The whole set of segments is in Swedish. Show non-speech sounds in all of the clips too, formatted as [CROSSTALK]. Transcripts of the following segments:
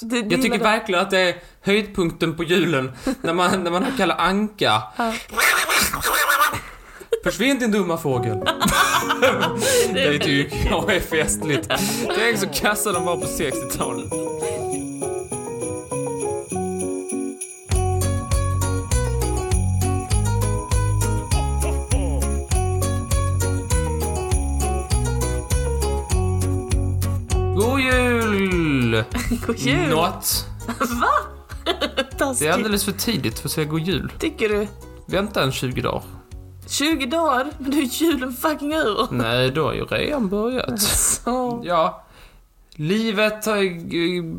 Så det, det Jag tycker gillar du. verkligen att det är höjdpunkten på julen. När man, när man har Kalle Anka. Ja. Försvinn din dumma fågel. det är lite yrke och är festligt. Tänk så kassa de var på 60-talet. God jul! God jul! Något. Va? Det är Taskigt. alldeles för tidigt för att säga god jul. Tycker du? Vänta en 20 dagar. 20 dagar? Men du är julen fucking ur! Nej, då har ju [LAUGHS] redan börjat. Så, Ja. Livet har-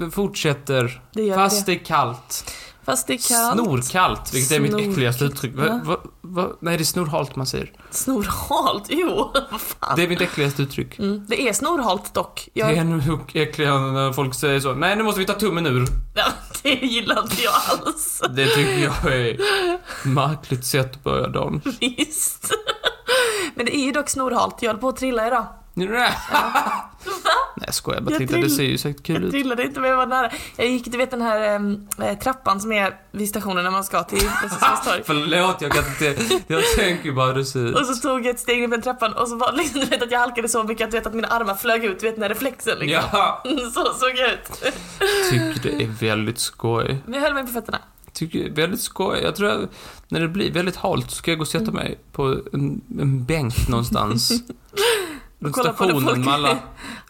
g- fortsätter. det gör Fast det. det är kallt. Fast det är kallt. Snorkallt, vilket är mitt Snor- äckligaste uttryck. Va, Va? va, va? Nej, det är snorhalt man säger. Snorhalt? Jo, vad fan. Det är mitt äckligaste uttryck. Mm. Det är snorhalt dock. Jag... Det är nog äckligare när folk säger så. Nej, nu måste vi ta tummen ur. Ja, det gillar inte jag alls. Det tycker jag [LAUGHS] är ett märkligt sätt att börja dagen. Visst. Men det är ju dock snorhalt. Jag höll på att trilla idag. Nej, [LAUGHS] Nej, jag skojar bara. Jag Titta, det trill- ser ju säkert kul Jag ut. trillade inte men jag var nära. Jag gick, du vet den här em, eh, trappan som är vid stationen när man ska till [LAUGHS] Västerviks torg. Förlåt, jag kan inte... Jag tänker ju bara hur det ser ut. Och så tog jag ett steg ner för den trappan och så var [LAUGHS] det liksom, du vet att jag halkade så mycket att du vet att mina armar flög ut, du vet den här reflexen liksom. Ja, [LAUGHS] Så såg jag ut. tycker det är väldigt skoj. Men jag höll mig på fötterna. Tycker det är väldigt skoj. Jag tror att när det blir väldigt halt så ska jag gå och sätta mig på en, en bänk [LAUGHS] någonstans. Runt kolla på när stationen folk [LAUGHS] med alla,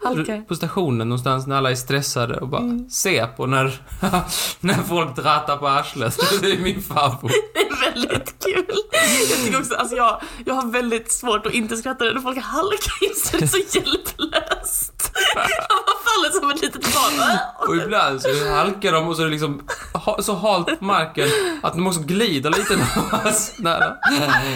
halkar. på stationen någonstans när alla är stressade och bara Mm. se på när, [LAUGHS] när folk drattar på arslet. [LAUGHS] Det är min favorit. Det är väldigt kul. Jag tycker också, alltså jag, jag har väldigt svårt att inte skratta när folk halkar in så det är [LAUGHS] så hjälplöst. Jag bara faller som ett litet barn. Och ibland så halkar de och så är det liksom ha- så halt på marken att de också glider lite när man snurrar.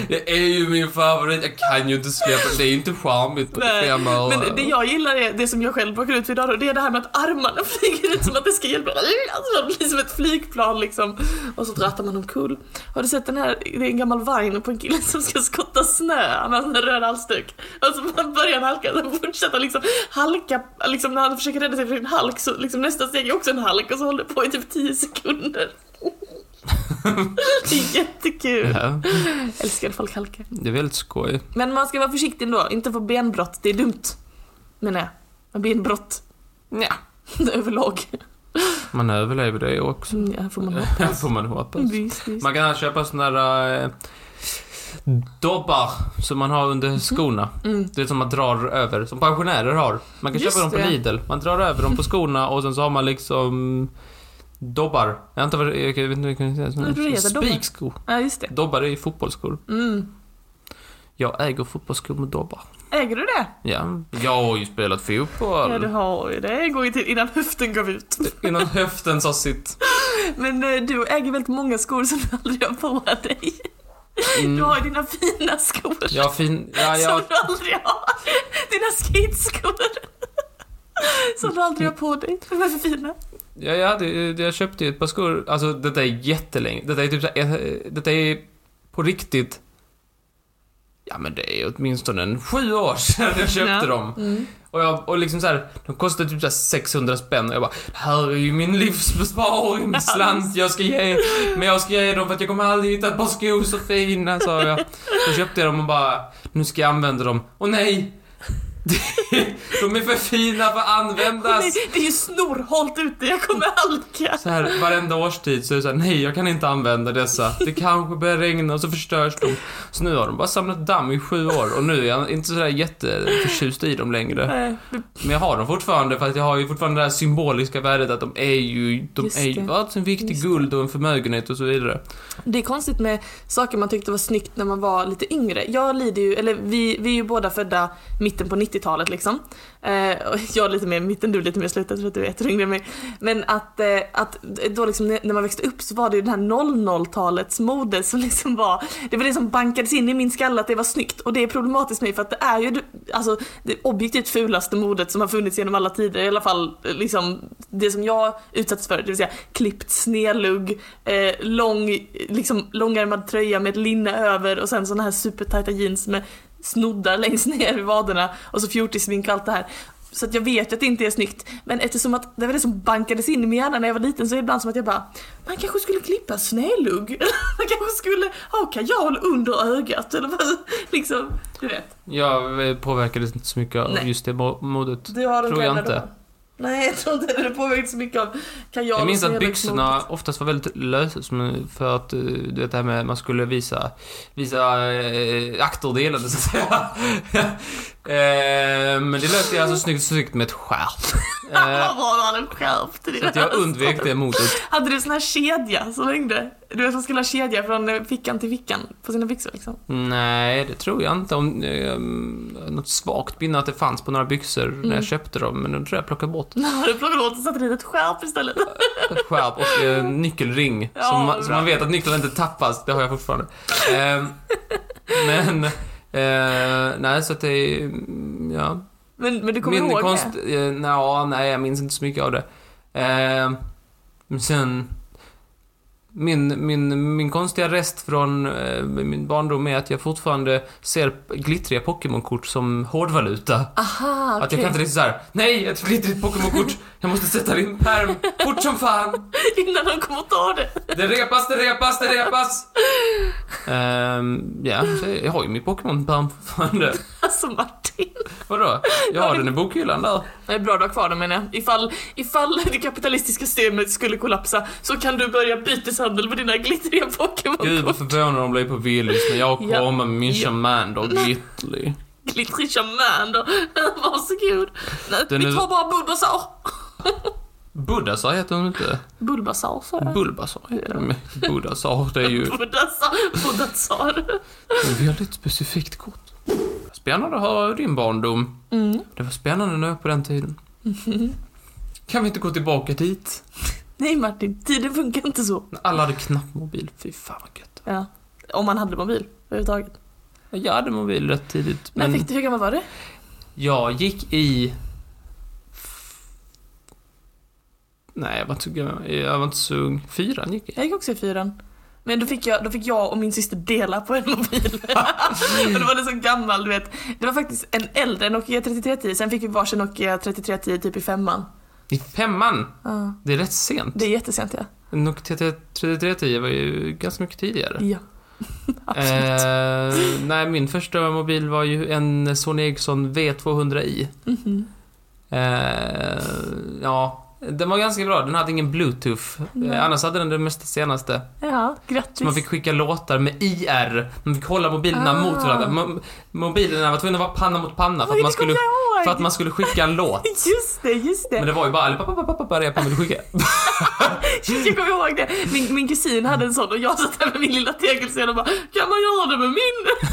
Det är ju min favorit. Jag kan ju inte släppa det. Det är ju inte charmigt på Nej, fem öre. Men det jag gillar är det som jag själv råkar ut för idag då, det är det här med att armarna [LAUGHS] flyger ut som att det ska hjälpa. Alltså man blir som ett flygplan liksom. Och så drattar man omkull. Har du sett den här, det är en gammal vagn på en kille som ska skotta snö, han har en röd halsduk. Och så man börjar han halka, sen fortsätter han liksom halka, liksom när han försöker rädda sig från en halk så liksom nästa steg är också en halk och så håller det på i typ 10 sekunder. [LAUGHS] det är jättekul. Ja, Älskar när folk halkar. det är väldigt skoj. Men man ska vara försiktig ändå, inte få benbrott, det är dumt. Menar jag. Men benbrott Ja. [LAUGHS] överlag. Man överlever det också. Mm, Ja, [LAUGHS] får man ha. Det får man hoppas. Visst, visst. Man kan köpa såna där eh, dobbar som man har under skorna. Mm. Det är som man drar över, som pensionärer har. Man kan Just köpa dem på det. Lidl. Man drar över dem på skorna och sen så har man liksom dobbar. Jag vet inte vad det jag vet inte vad jag kan säga. Vad är det, Såna- dobbar? Spikskor. Ja, just det. Dobbar är ju fotbollsskor. Mm. Jag äger fotbollsskor med dobbar. Äger du det? Ja, jag har ju spelat Ja, du fotboll. har ju det. En gång i tiden, innan höften gav ut. [LAUGHS] Innan höften sa sitt. Men eh, du äger väldigt många skor som du aldrig har på dig. [LAUGHS] Du Mm. har ju dina fina skor. Jag har fin... Ja, jag... Som du aldrig har. Dina skateskor. [LAUGHS] Som du aldrig har på dig. De är för fina. Ja, jag, hade, ju- jag köpte ju ett par skor, alltså detta är jättelänge, detta är typ så här, eh, detta är på riktigt, ja men det är åtminstone en sju år sedan jag köpte Ja. dem. Mm. Och, jag, och liksom så här, de kostade typ så här 600 spänn och jag bara, här är ju min livsbesparing, slant jag ska ge, men jag ska ge dem för att jag kommer aldrig hitta ett par skor så fina, sa jag. Då köpte jag dem och bara, nu ska jag använda dem. Och nej! [LAUGHS] De är för fina för att Åh, användas! nej, det är ju snorhalt ute, jag kommer halka. Så här, varenda årstid så är det så här, nej jag kan inte använda dessa. Det kanske börjar regna och så förstörs de. Så nu har de bara samlat damm i sju år och nu är jag inte sådär jätteförtjust i dem längre. Nej, Men jag har dem fortfarande för att jag har ju fortfarande det här symboliska värdet att de är ju, de Just är ju det. värd en viktig Just guld och en förmögenhet och så vidare. Det är konstigt med saker man tyckte var snyggt när man var lite yngre. Jag lider ju, eller vi, vi är ju båda födda mitten på 90-talet liksom. Eh, och jag lite mer mitten, du lite mer slutet för att du är ett år yngre än mig. Men att, eh, att då liksom när när man växte upp så var det ju det här 00-talets mode som liksom var, det var det som bankades in i min skalle att det var snyggt. Och det är problematiskt för mig för att det är ju det- alltså, det objektivt fulaste modet som har funnits genom alla tider. I alla fall eh, liksom det som jag utsattes för, det vill säga klippt snedlugg, eh, lång, eh, liksom, långärmad tröja med ett linne över och sen [LAUGHS] såna här supertajta jeans med snoddar längst ner i vaderna och så fjortismink och allt det här. Så att jag vet att det inte är snyggt. Men eftersom att det var det som bankades in i min hjärna när jag var liten så är det ibland som att jag bara Man kanske skulle klippa snedlugg. [LAUGHS] Man kanske skulle ha kajal under ögat eller vad [LAUGHS] liksom. Du vet. Jag eh, påverkades inte så mycket av Nej. just det mo- modet. Du har den Tror jag gamla inte. då. Nej jag tror inte det påverkat så mycket av kajal Jag minns och att snedlugg byxorna mot- oftast var väldigt lösa som- för att eh, du vet det här med man skulle visa, visa eh, akterdelen så att säga. [LAUGHS] eh, men det löste jag alltså snyggt, snyggt med ett skärp. [LAUGHS] Eh, Vad var det han hade skärpt i så att jag undvek det modet. Hade du sån här kedja som hängde? Du vet man skulle ha kedja från eh, fickan till fickan på sina byxor liksom. [LAUGHS] Nej, det tror jag inte. Om, eh, något svagt minne att det fanns på några byxor när jag köpte dem, men nu tror jag jag plockade bort Nu har du plockat åt och satt dit ett skärp istället. ett skärp och eh, nyckelring. Ja, så, bra. man, så man vet att nyckeln inte tappas, det har jag fortfarande. Eh, men, eh, nej så att det är, mm, ja. Men, men du kommer ihåg det? eh, nja, nej jag minns inte så mycket av det. Eh, men sen, min, min, min konstiga rest från eh, min barndom är att jag fortfarande ser p- glittriga Pokémon-kort som hårdvaluta. Aha, Att jag kan [LAUGHS] inte riktigt såhär, nej ett glittrigt Pokémon-kort, jag måste sätta det i en pärm, fort som fan! Innan de kommer ta det. Det repas, det repas, det repas! Ehm, ja, så jag har ju min Pokémon-pärm fortfarande. Alltså Martin. Vadå? Jag har den i bokhyllan där. Det är bra att ha kvar den menar jag. Ifall, ifall det kapitalistiska systemet skulle kollapsa så kan du börja byteshandel med dina glittriga Gud vad Pokémon-kort. förvånad de blev på Willys när jag Ja. kom med min Ja. Charmander Glitterly. Glittrig shaman då. [LAUGHS] Varsågod. Nej, Den vi är- tar bara Bulbasaur. Buddhasar heter hon inte? Bulbasaur sa jag. Bulbasaur heter hon. Buddhasar, det är ju Bulbasaur. Bulbasaur. ett väldigt specifikt kort. Spännande att höra din barndom. Mm. Det var spännande nu på den tiden. Mhm. Kan vi inte gå tillbaka dit? Nej Martin, tiden funkar inte så. När alla hade knappmobil. Fy fan vad gött. Ja. Om man hade mobil överhuvudtaget. Jag hade mobil rätt tidigt. När Men fick du, hur gammal var du? jag gick i... Nej, jag var inte så gammal. Jag var inte så ung. Fyran gick jag i. Jag gick också i fyran. Men då fick, jag, då fick jag och min syster dela på en [LAUGHS] mobil. och då var det så gammal, du vet. Det var faktiskt en äldre Nokia 3310, sen fick vi varsin Nokia 3310 typ i femman. I femman! Ja. Det är rätt sent. Det är jättesent ja. Nokia 3310 var ju ganska mycket tidigare. Ja. Absolut. Eh, nej, min första mobil var ju en Sony Ericsson V200i. Mhm. Eh, ja, den var ganska bra. Den hade ingen bluetooth. Nej. Eh, annars hade den det mesta senaste. Ja, Så grattis. man fick skicka låtar med IR. Man fick hålla mobilerna Ah. mot varandra. Mo- mobilerna var tvungna att vara panna mot panna för Oj, att, man det kommer skulle, jag ihåg. för att man skulle skicka [LAUGHS] en låt. Just det, just det. Men det var ju bara alla repan vill skicka. Jag kommer ihåg det. Min, min kusin hade en sån och jag satt där med min lilla tegelsten och bara Kan man göra det med min?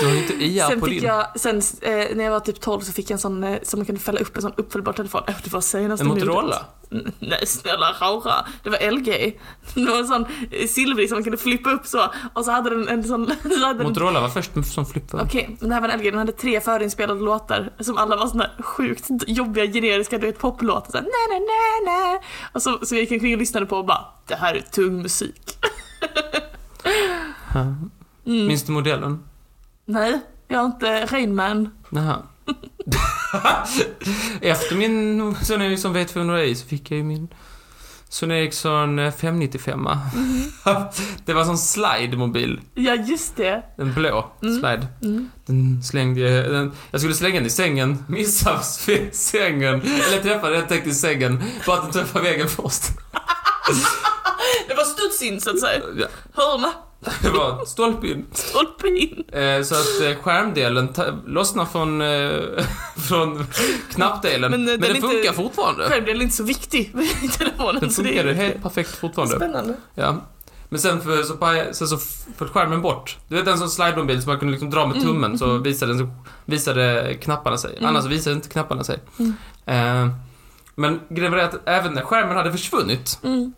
Du har ju inte IR sen på fick din. jag, sen eh, när jag var typ 12 så fick jag en sån eh, som man kunde fälla upp en sån uppfällbar telefon. Eh, Det var senaste En modet. Motorola? Mm, Nej snälla rara. Det var LG. [LAUGHS] Det var en sån eh, silvrig som man kunde flippa upp så. Och så hade den en sån... [LAUGHS] Så hade den, Motorola var först med som flippade. Okej, men det här var en LG. Den hade tre förinspelade låtar som alla var såna här sjukt jobbiga generiska du vet poplåtar. Såhär nej nej nej nej. Och så, så jag gick omkring och lyssnade på och bara Det här är tung musik. Ja. Mm. Minns du modellen? Nej, jag är inte Rainman. Jaha. [LAUGHS] Efter min Sony Ericsson V200i så fick jag ju min Sony Ericsson eh, 595. Mhm. [LAUGHS] det var en sån slide-mobil. Ja, just det. En blå Mm. slide. Mm. Den slängde jag... Den, jag skulle slänga den i sängen, missade s- sängen. Eller träffade den täckt i sängen. Bara att den träffade väggen först. Det var studs in så att säga. Ja, Hörna, det var stolpe in. stolpe in. Eh, så att eh, skärmdelen ta- lossnar från, eh, [LAUGHS] från knappdelen. Men, eh, den Men, den, är funkar inte- fortfarande. Själv är inte så viktig i telefonen. Den så det funkar är helt perfekt fortfarande. Spännande. Ja. Men sen, för, så, paj- sen så föll skärmen bort. Du vet en sån slide-mobil som man kunde liksom dra med Mm, tummen så mhm. visade, den, visade knapparna sig. Mm. Annars visade inte knapparna sig. Mm. Eh, men grejen var det att även när skärmen hade försvunnit Mm.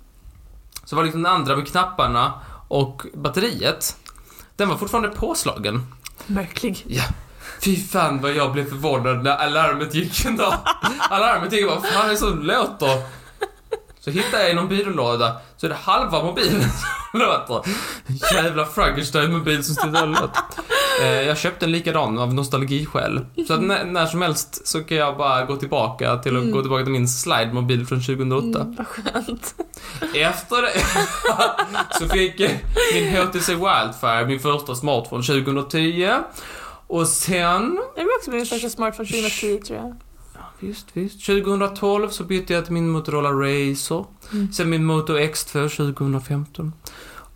så var liksom den andra med knapparna och batteriet, den var fortfarande påslagen. Märklig. Ja. Fy fan vad jag blev förvånad när alarmet gick en dag. Alarmet gick och bara, vad fan är det som låter? Så hittar jag i någon byrålåda, så är det halva mobilen som låter. En jävla Frankenstein-mobil som sitter där och låter. Eh, jag köpte en likadan av nostalgiskäl. Så att när, när som helst så kan jag bara gå tillbaka till att Mm. gå tillbaka till min slide-mobil från 2008. Mm, vad skönt. Efter det [LAUGHS] så fick jag min HTC Wildfire, min första smartphone, 2010. Och sen, Det var också min första smartphone 2010 tror jag. visst, visst, 2012 så bytte jag till min Motorola Razr. Mm. Sen min Moto X2 2015.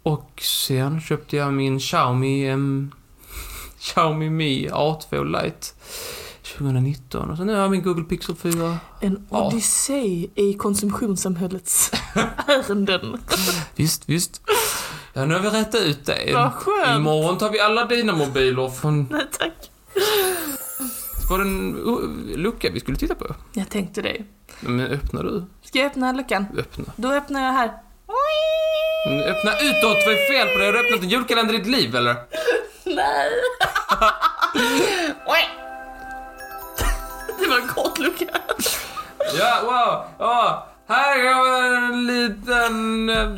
Och sen köpte jag min Xiaomi, em, [LAUGHS] Xiaomi Mi A2 Lite 2019. Och sen nu har jag min Google Pixel 4. En Ja. odyssé i [LAUGHS] konsumtionssamhällets ärenden. Visst, visst. Ja, nu har vi rättat ut det. Vad skönt. Imorgon tar vi alla dina mobiler från... Nej tack. Var det en uh, lucka vi skulle titta på? Jag tänkte det. Men öppna du. Ska jag öppna luckan? Öppna. Då öppnar jag här. Men Öppna utåt, vad är fel på dig? Har du öppnat en julkalender i ditt liv eller? [LAUGHS] Nej. Oj. [LAUGHS] Det var en kort lucka. Ja, wow, ja. Här har vi en liten eh,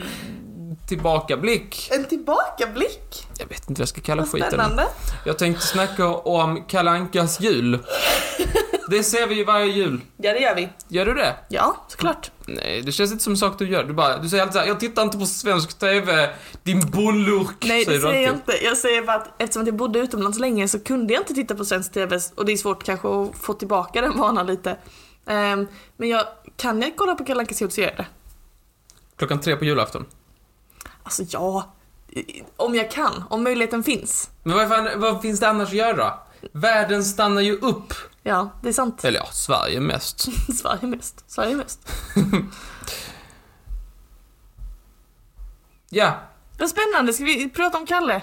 tillbakablick. En tillbakablick. Jag vet inte vad jag ska kalla Vad skiten. spännande. Jag tänkte snacka om Kalankas jul. Det ser vi ju varje jul. Ja det gör vi. Mm. Gör du det? Ja, såklart. Nej, det känns inte som en sak du gör. Du, bara, du säger alltid såhär, jag tittar inte på svensk TV, din bullurk. Nej det du säger jag alltid. inte. Jag säger bara att eftersom att jag bodde utomlands länge så kunde jag inte titta på svensk TV och det är svårt kanske att få tillbaka den vanan lite. Ehm, men jag, kan jag kolla på Kalle Ankas jul så gör jag det. Klockan tre på julafton. Alltså ja, i- om jag kan, om möjligheten finns. Men vad, fan, vad finns det annars att göra? Världen stannar ju upp. Ja, det är sant. [LAUGHS] Eller ja, Sverige mest. Sverige mest. Sverige mest. Ja, Vad spännande, ska vi prata om Kalle?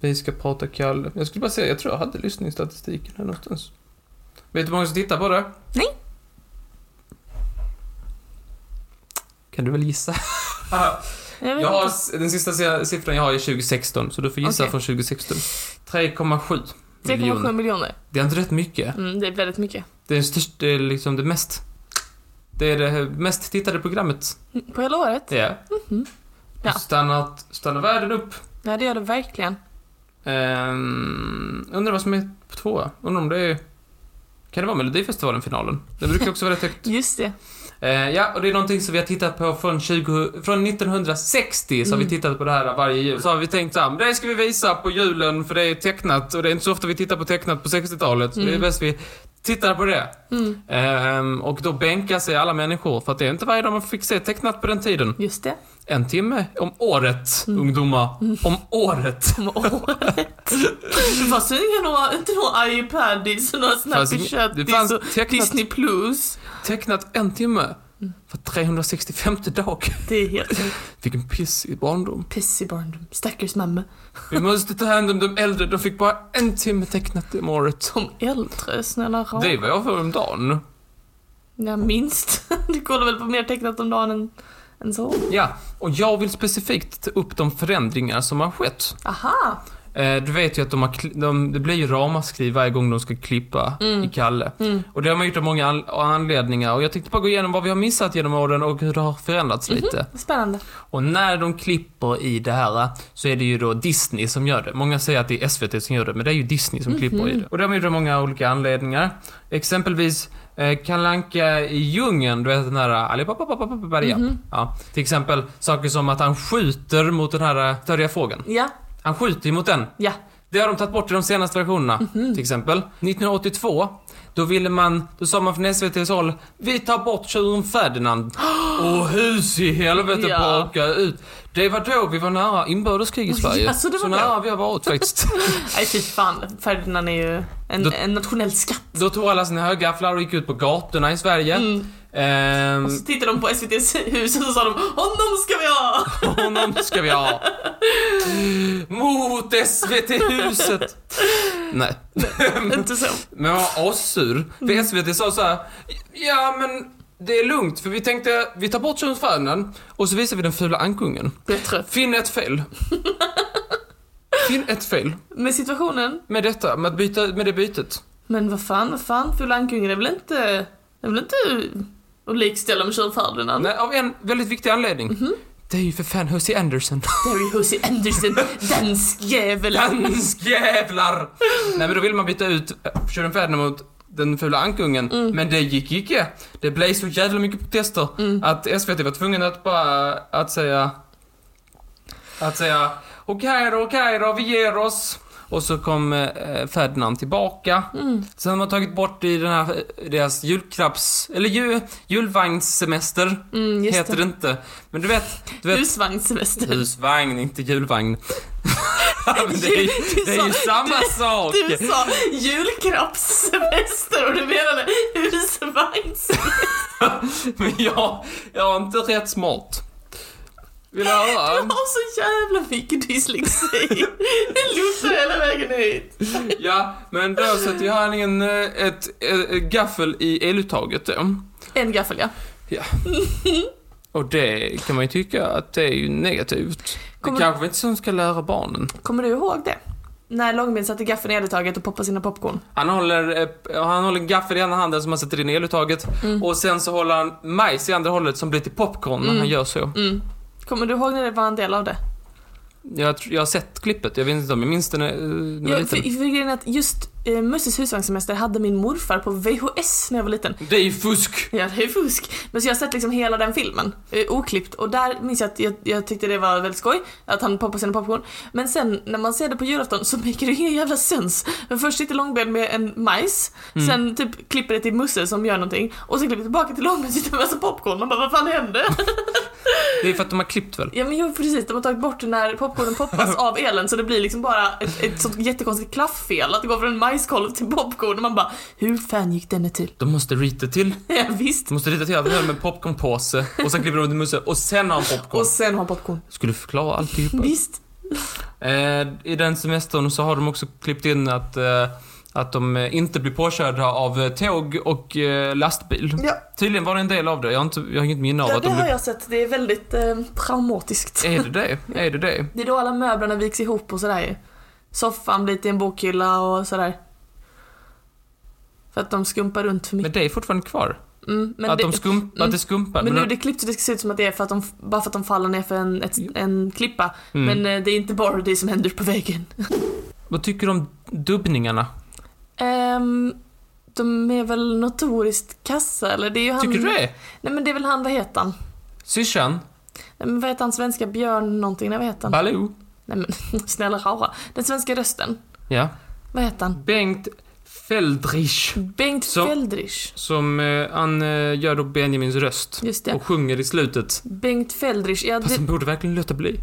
vi ska prata Kalle. Jag skulle bara säga, jag tror jag hade lyssningsstatistiken här någonstans. Vet du hur många som tittar på det? Nej. Kan du väl gissa? Jag vet Jag har, inte. s- den sista se- siffran jag har är 2016, så du får gissa Okej. från 2016. 3,7 3,7 miljoner. miljoner. Det är inte rätt mycket. Mm, det är väldigt mycket. Det är, störst, det är liksom det mest... Det är det mest tittade programmet. Mm, På hela året? Det är. Mhm. Ja. Stannat, stannar världen upp. Ja, det gör det verkligen. Ehm, undrar vad som är på tvåa. Undrar om det är... Kan det vara Melodifestivalen-finalen? Den brukar också vara [LAUGHS] rätt högt. Just det. Eh, ja, och det är någonting som vi har tittat på från, 20, från 1960 så har vi Mm. tittat på det här varje jul. Så har vi tänkt såhär, "Men det ska vi visa på julen för det är tecknat och det är inte så ofta vi tittar på tecknat på 60-talet. Så det är Mm. bäst vi tittar på det. Mm, Ehm, och då bänkar sig alla människor för att det är inte varje dag man fick se tecknat på den tiden. just det. En timme om året, ungdomar. Om året. Om året. Det fanns ju inga några, inte några iPadis och några Fanns inga- Snappy det Chattis fanns och tecknat- Disney Plus. Tecknat en timme. För 365 dag. Det är helt sjukt. Vilken pissig barndom. Piss i barndom. Stackars mamma. Vi måste ta hand om de äldre, de fick bara en timme tecknat om året. Som äldre, snälla rara. Det är vad jag får om dagen. Ja, minst. [LAUGHS] Du kollar väl på mer tecknat om dagen än, än så? Ja, och jag vill specifikt ta upp de förändringar som har skett. Aha! Eh, du vet ju att de har, kli- de, det blir ju ramaskri varje gång de ska klippa Mm. i Kalle. Mm. Och det har man gjort av många an- anledningar och jag tänkte bara gå igenom vad vi har missat genom åren och hur det har förändrats lite. Spännande. Och när de klipper i det här så är det ju då Disney som gör det. Många säger att det är SVT som gör det, men det är ju Disney som klipper i det. Och det har man gjort av många olika anledningar. Exempelvis eh, Kalle Anka i djungeln, du vet den här allipapapapapaparia. Ja, till exempel saker som att han skjuter mot den här eh, större fågeln. Ja, Han skjuter ju mot den. ja. Det har de tagit bort i de senaste versionerna, Mhm. till exempel. 1982, då ville man, då sa man från SVT's håll, vi tar bort tjuren [GASPS] Ferdinand. Och hus i helvete Ja. brakade ut. Det var då vi var nära inbördeskrig i Oj, Sverige. alltså det var så då. nära vi har [LAUGHS] varit faktiskt. Nej fy fan, Ferdinand är ju en, Då- en nationell skatt. då tog alla sina högafflar och gick ut på gatorna i Sverige. Mm. Ehm, Och så tittade de på SVTs hus och så sa de Honom ska vi [LAUGHS] ha! Honom ska [LAUGHS] vi ha. Mot SVT-huset. Nej. Inte så. Men jag var assur. För SVT sa så här. Ja men det är lugnt för vi tänkte vi tar bort könsfärden och så visar vi den fula ankungen. Bättre. Finn ett fel. Finn ett fel Med situationen. med detta, med, att byta, med det bytet. Men vad fan, vad fan, Fula Ankungen är väl inte... Är väl inte att likställa med Tjuren Ferdinand? Nej, av en väldigt viktig anledning. Det är ju för fan Hussi Anderson. Derry Hussi Anderson, dansk jävel. Dansk jävlar! Nej men då ville man byta ut eh, Sheridan Ferdinand mot den fula ankungen. Men det gick icke. Det blev så jävla mycket protester att SVT var tvungen att bara, att säga, att säga okej då, okej då, vi ger oss. Och så kom eh, Ferdinand tillbaka. Sen har man tagit bort i den här, eh, deras julkrabs, eller ju, julvagnssemester, Mm, just heter det. inte. Men du vet, det. du vet Husvagnssemester. Husvagn, inte julvagn. [LAUGHS] Men det, är, ju- Du det är ju sa- samma sak. Du sa julkroppssemester och du menade husvagns... Men jag, jag är inte rätt smart. Vill du Jag höra? har så jävla mycket dyslexi. Det luktar hela vägen hit. Ja, men då sätter ju han in eh, ett, eh, gaffel i eluttaget då. En gaffel ja. Och det kan man ju tycka att det är ju negativt. Kommer- Det kanske inte som ska lära barnen. Kommer du ihåg det? När Långben satte gaffeln i eluttaget och poppade sina popcorn. Han håller, eh, han håller en gaffel i ena handen som han sätter in i Mm. eluttaget och sen så håller han majs i andra hållet som blir till popcorn när han gör så. Mm. Kommer du ihåg när det var en del av det? Jag, tr- jag har sett klippet, jag vet inte om jag minns det när, eh, när jag var Jag, för, liten. för grejen är att just eh, Musses husvagnssemester hade min morfar på VHS när jag var liten. Det är ju fusk! Ja, det är fusk. Men så jag har sett liksom hela den filmen, eh, oklippt. Och där minns jag att jag, jag tyckte det var väldigt skoj, att han poppade sina popcorn. Men sen när man ser det på julafton så make det ingen jävla sens. För först sitter Långben med en majs, Mm. sen typ klipper det till Musse som gör någonting. Och sen klipper det tillbaka till Långben och sitter med en massa popcorn. Man bara, vad fan hände? Det är för att de har klippt väl? Ja men jo, precis, de har tagit bort när popcornen poppas av elen så det blir liksom bara ett, ett sånt jättekonstigt klafffel att det går från majskolv till popcorn och man bara Hur fan gick denna till? [LAUGHS] De måste rita till. Ja, visst. De måste rita till att vi höll med en popcornpåse och sen klipper de till Musse och sen har han popcorn. Och sen har popcorn. Skulle förklara alltihopa. Visst. Eh, I den semestern så har de också klippt in att, eh, att de eh, inte blir påkörda av eh, tåg och eh, lastbil. Ja, Tydligen var det en del av det. Jag har, inte, jag har inget minne av ja att det de Eh. har blev... jag sett. Det är väldigt eh, traumatiskt. Är det det? Är det det? Det är då alla möblerna viks ihop och sådär ju. Soffan blir till en bokhylla och sådär. För att de skumpar runt för Men mycket. det är fortfarande kvar. Mm, men att, det, de skump, mm. att det skumpar. men nu är det klippt så det ser ut som att det är för att de, bara för att de faller ner för en, ett, en klippa. mm. Men eh, det är inte bara det som händer på vägen. Vad tycker du om dubbningarna? Ehm, de är väl notoriskt kassa eller? Det är ju han... Tycker du det? Nej men det är väl han, vad heter han? Syrsan? Nej, men vad heter han svenska? Björn någonting, nej vad heter han? Baloo? Nej men snälla rara. Den svenska rösten, Ja. vad heter han? Bengt Feldrich. Bengt Så- Feldrich. Som eh, han eh, gör då Benjamins röst. Just det. Och sjunger i slutet. Bengt Feldrich, ja Fast det, han borde verkligen låta bli.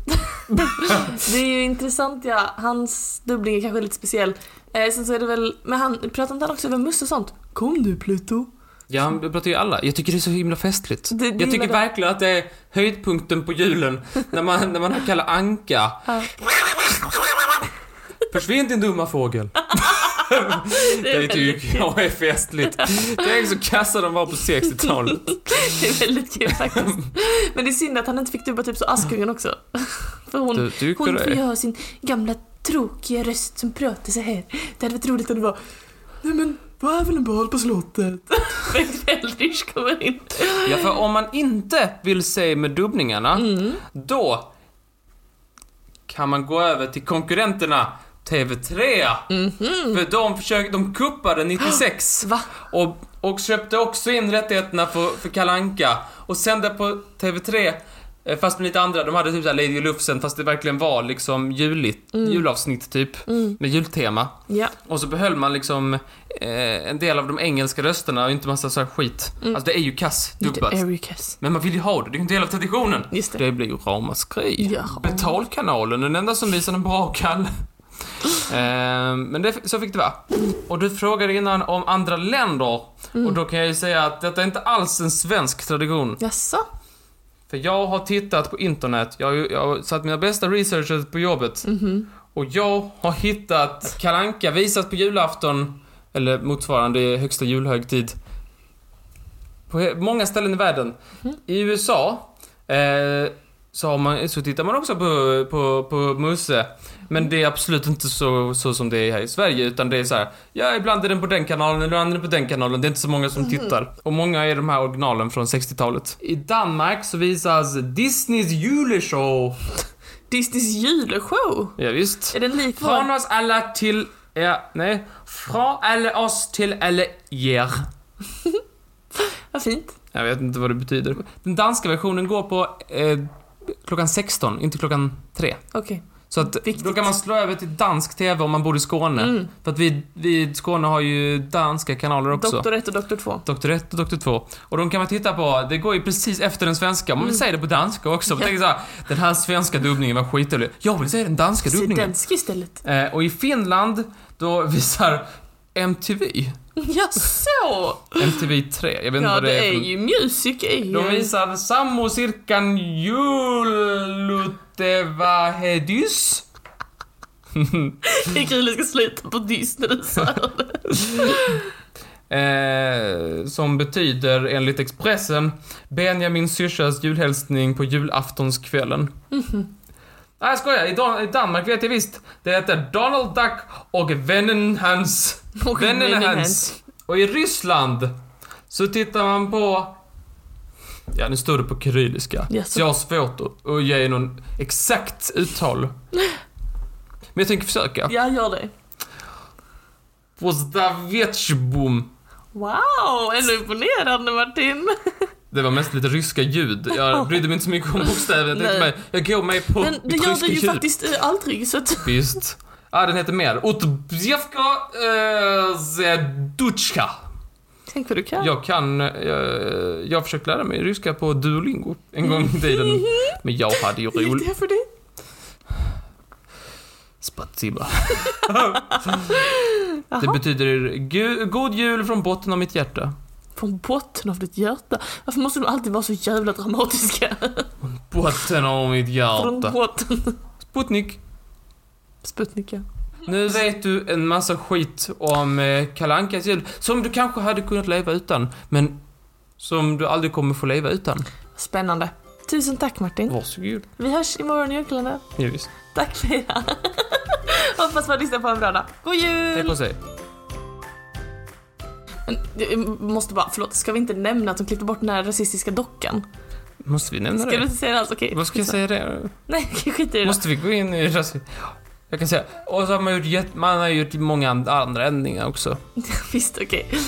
det är ju intressant ja. Hans dubbling är kanske lite speciell. Eh, sen så är det väl, men han, pratar inte han också över Musse och sånt? Kom nu Pluto. Ja, han pratar ju alla. Jag tycker det är så himla festligt. Det- det jag tycker gillar det. verkligen att det är höjdpunkten på julen. När man, när man har Kalle Anka. Ja. Försvinn din dumma fågel. [LAUGHS] Det tycker jag är festligt. Tänk så kassa de var på 60-talet. [LAUGHS] Det är väldigt kul faktiskt. Men det är synd att han inte fick dubba typ så Askungen också. [LAUGHS] För hon, Du tycker hon får ju det? ha sin gamla tråkiga röst som pratar så här. Det hade varit roligt om det var Nej men, vad är väl en bal på slottet? [LAUGHS] Bengt Feldrich kommer in. Ja, för om man inte vill se med dubbningarna. Då kan man gå över till konkurrenterna TV3. För de försökte, de [GASPS] kuppade 96 Va? och, och köpte också in rättigheterna för, för Kalanka Och sände på TV3, eh, fast med lite andra. De hade typ såhär Lady Lufsen, fast det verkligen var liksom juligt, julavsnitt typ. Med jultema. Ja, Och så behöll man liksom eh, en del av de engelska rösterna och inte massa så här skit. Alltså det är ju kass lite dubbat. Ericas. Men man vill ju ha det, det är ju en del av traditionen. Just det. Det blir ju ramaskri. Ja. Betalkanalen, den enda som visar en bra [LAUGHS] kall. Ehm, Men det, så fick det vara. Och du frågade innan om andra länder. Mm. Och då kan jag ju säga att detta är inte alls en svensk tradition. Jaså? För jag har tittat på internet, jag har, ju- jag har satt mina bästa researchers på jobbet. Och jag har hittat Kalanka visas på julafton, eller motsvarande i högsta julhögtid. På he- många ställen i världen. I USA eh, så, har man, så tittar man också på, på, på Musse. Men det är absolut inte så, så som det är här i Sverige utan det är så här, ja ibland är den på den kanalen, ibland är den på den kanalen. Det är inte så många som tittar. Och många är de här originalen från 60-talet. I Danmark så visas Disneys juleshow. Disneys julshow? Ja, visst. Är den lik Från vår? oss alla till er, nej. Från alla oss till alla er. Vad fint. Jag vet inte vad det betyder. Den danska versionen går på eh, klockan 16, inte klockan 3. Okej. Så att då Viktigt. kan man slå över till dansk TV om man bor i Skåne. Mm. För att vi, vi i Skåne har ju danska kanaler också. Doktor 1 och Doktor 2. Doktor 1 och Doktor 2. Och de kan man titta på, det går ju precis efter den svenska. Man vill säga det på danska också. Man tänker såhär, den här svenska dubbningen var skitdålig. Jag vill säga den danska Se dubbningen. dansk istället. [LAUGHS] Eh, och i Finland, då visar MTV. Ja, så! MTV 3. Jag vet inte Ja, vad det, det är är. för- ju music är ju... De visar Sammo Sirkan Julutevahedys. Det är kul att vi ska sluta på Disney så [LAUGHS] här. Eh, som betyder, enligt Expressen, Benjamin syrsas julhälsning på julaftonskvällen. Mhm. Nej, jag skojar. I, Dan- I Danmark vet jag visst. Det heter Donald Duck och vännen hans. Och Vännen vännen hans. hans. Och i Ryssland så tittar man på... Ja, nu står det på kyrilliska. Jaså. Så jag har svårt att- att ge någon exakt uttal. Men jag tänker försöka. Ja, gör det. Pozdavetjbum. Wow, ändå imponerande Martin. Det var mest lite ryska ljud. Jag brydde mig inte så mycket om bokstäver. Jag tänkte Nej. mig, jag går med på Men det mitt gör ryska du ju ljud. faktiskt eh, aldrig så att... [LAUGHS] Visst. Ja, den heter mer. Utbjevka eh, Zeduchka. Tänk vad du kan. Jag kan... eh, jag har försökt lära mig ryska på Duolingo en gång [LAUGHS] i tiden. Men jag hade ju Hur roligt. gick det för dig? [LAUGHS] Spatsiba. Det Jaha. betyder "Gu- god jul från botten av mitt hjärta. Från botten av ditt hjärta. Varför måste du alltid vara så jävla [LAUGHS] dramatiska? Botten av mitt Från hjärta. botten. Sputnik. Sputnik ja. Nu vet du en massa skit om eh, Kalle Ankas jul som du kanske hade kunnat leva utan, men som du aldrig kommer få leva utan. Spännande. Tusen tack Martin. Varsågod. Vi hörs imorgon i julkalendern. Ja, visst. Tack för idag. [LAUGHS] Hoppas man lyssnar på en bra dag. God jul! Hej på sig. Men, jag måste bara, förlåt, ska vi inte nämna att de klippte bort den här rasistiska dockan? Måste vi nämna Ska det? du inte säga det alls? Okej. Vad ska jag säga det? Nej, skit i det. då. Måste vi gå in i rasism? Jag kan säga, och så har man gjort, jätt- man har gjort många and- andra ändringar också. Visst, okej.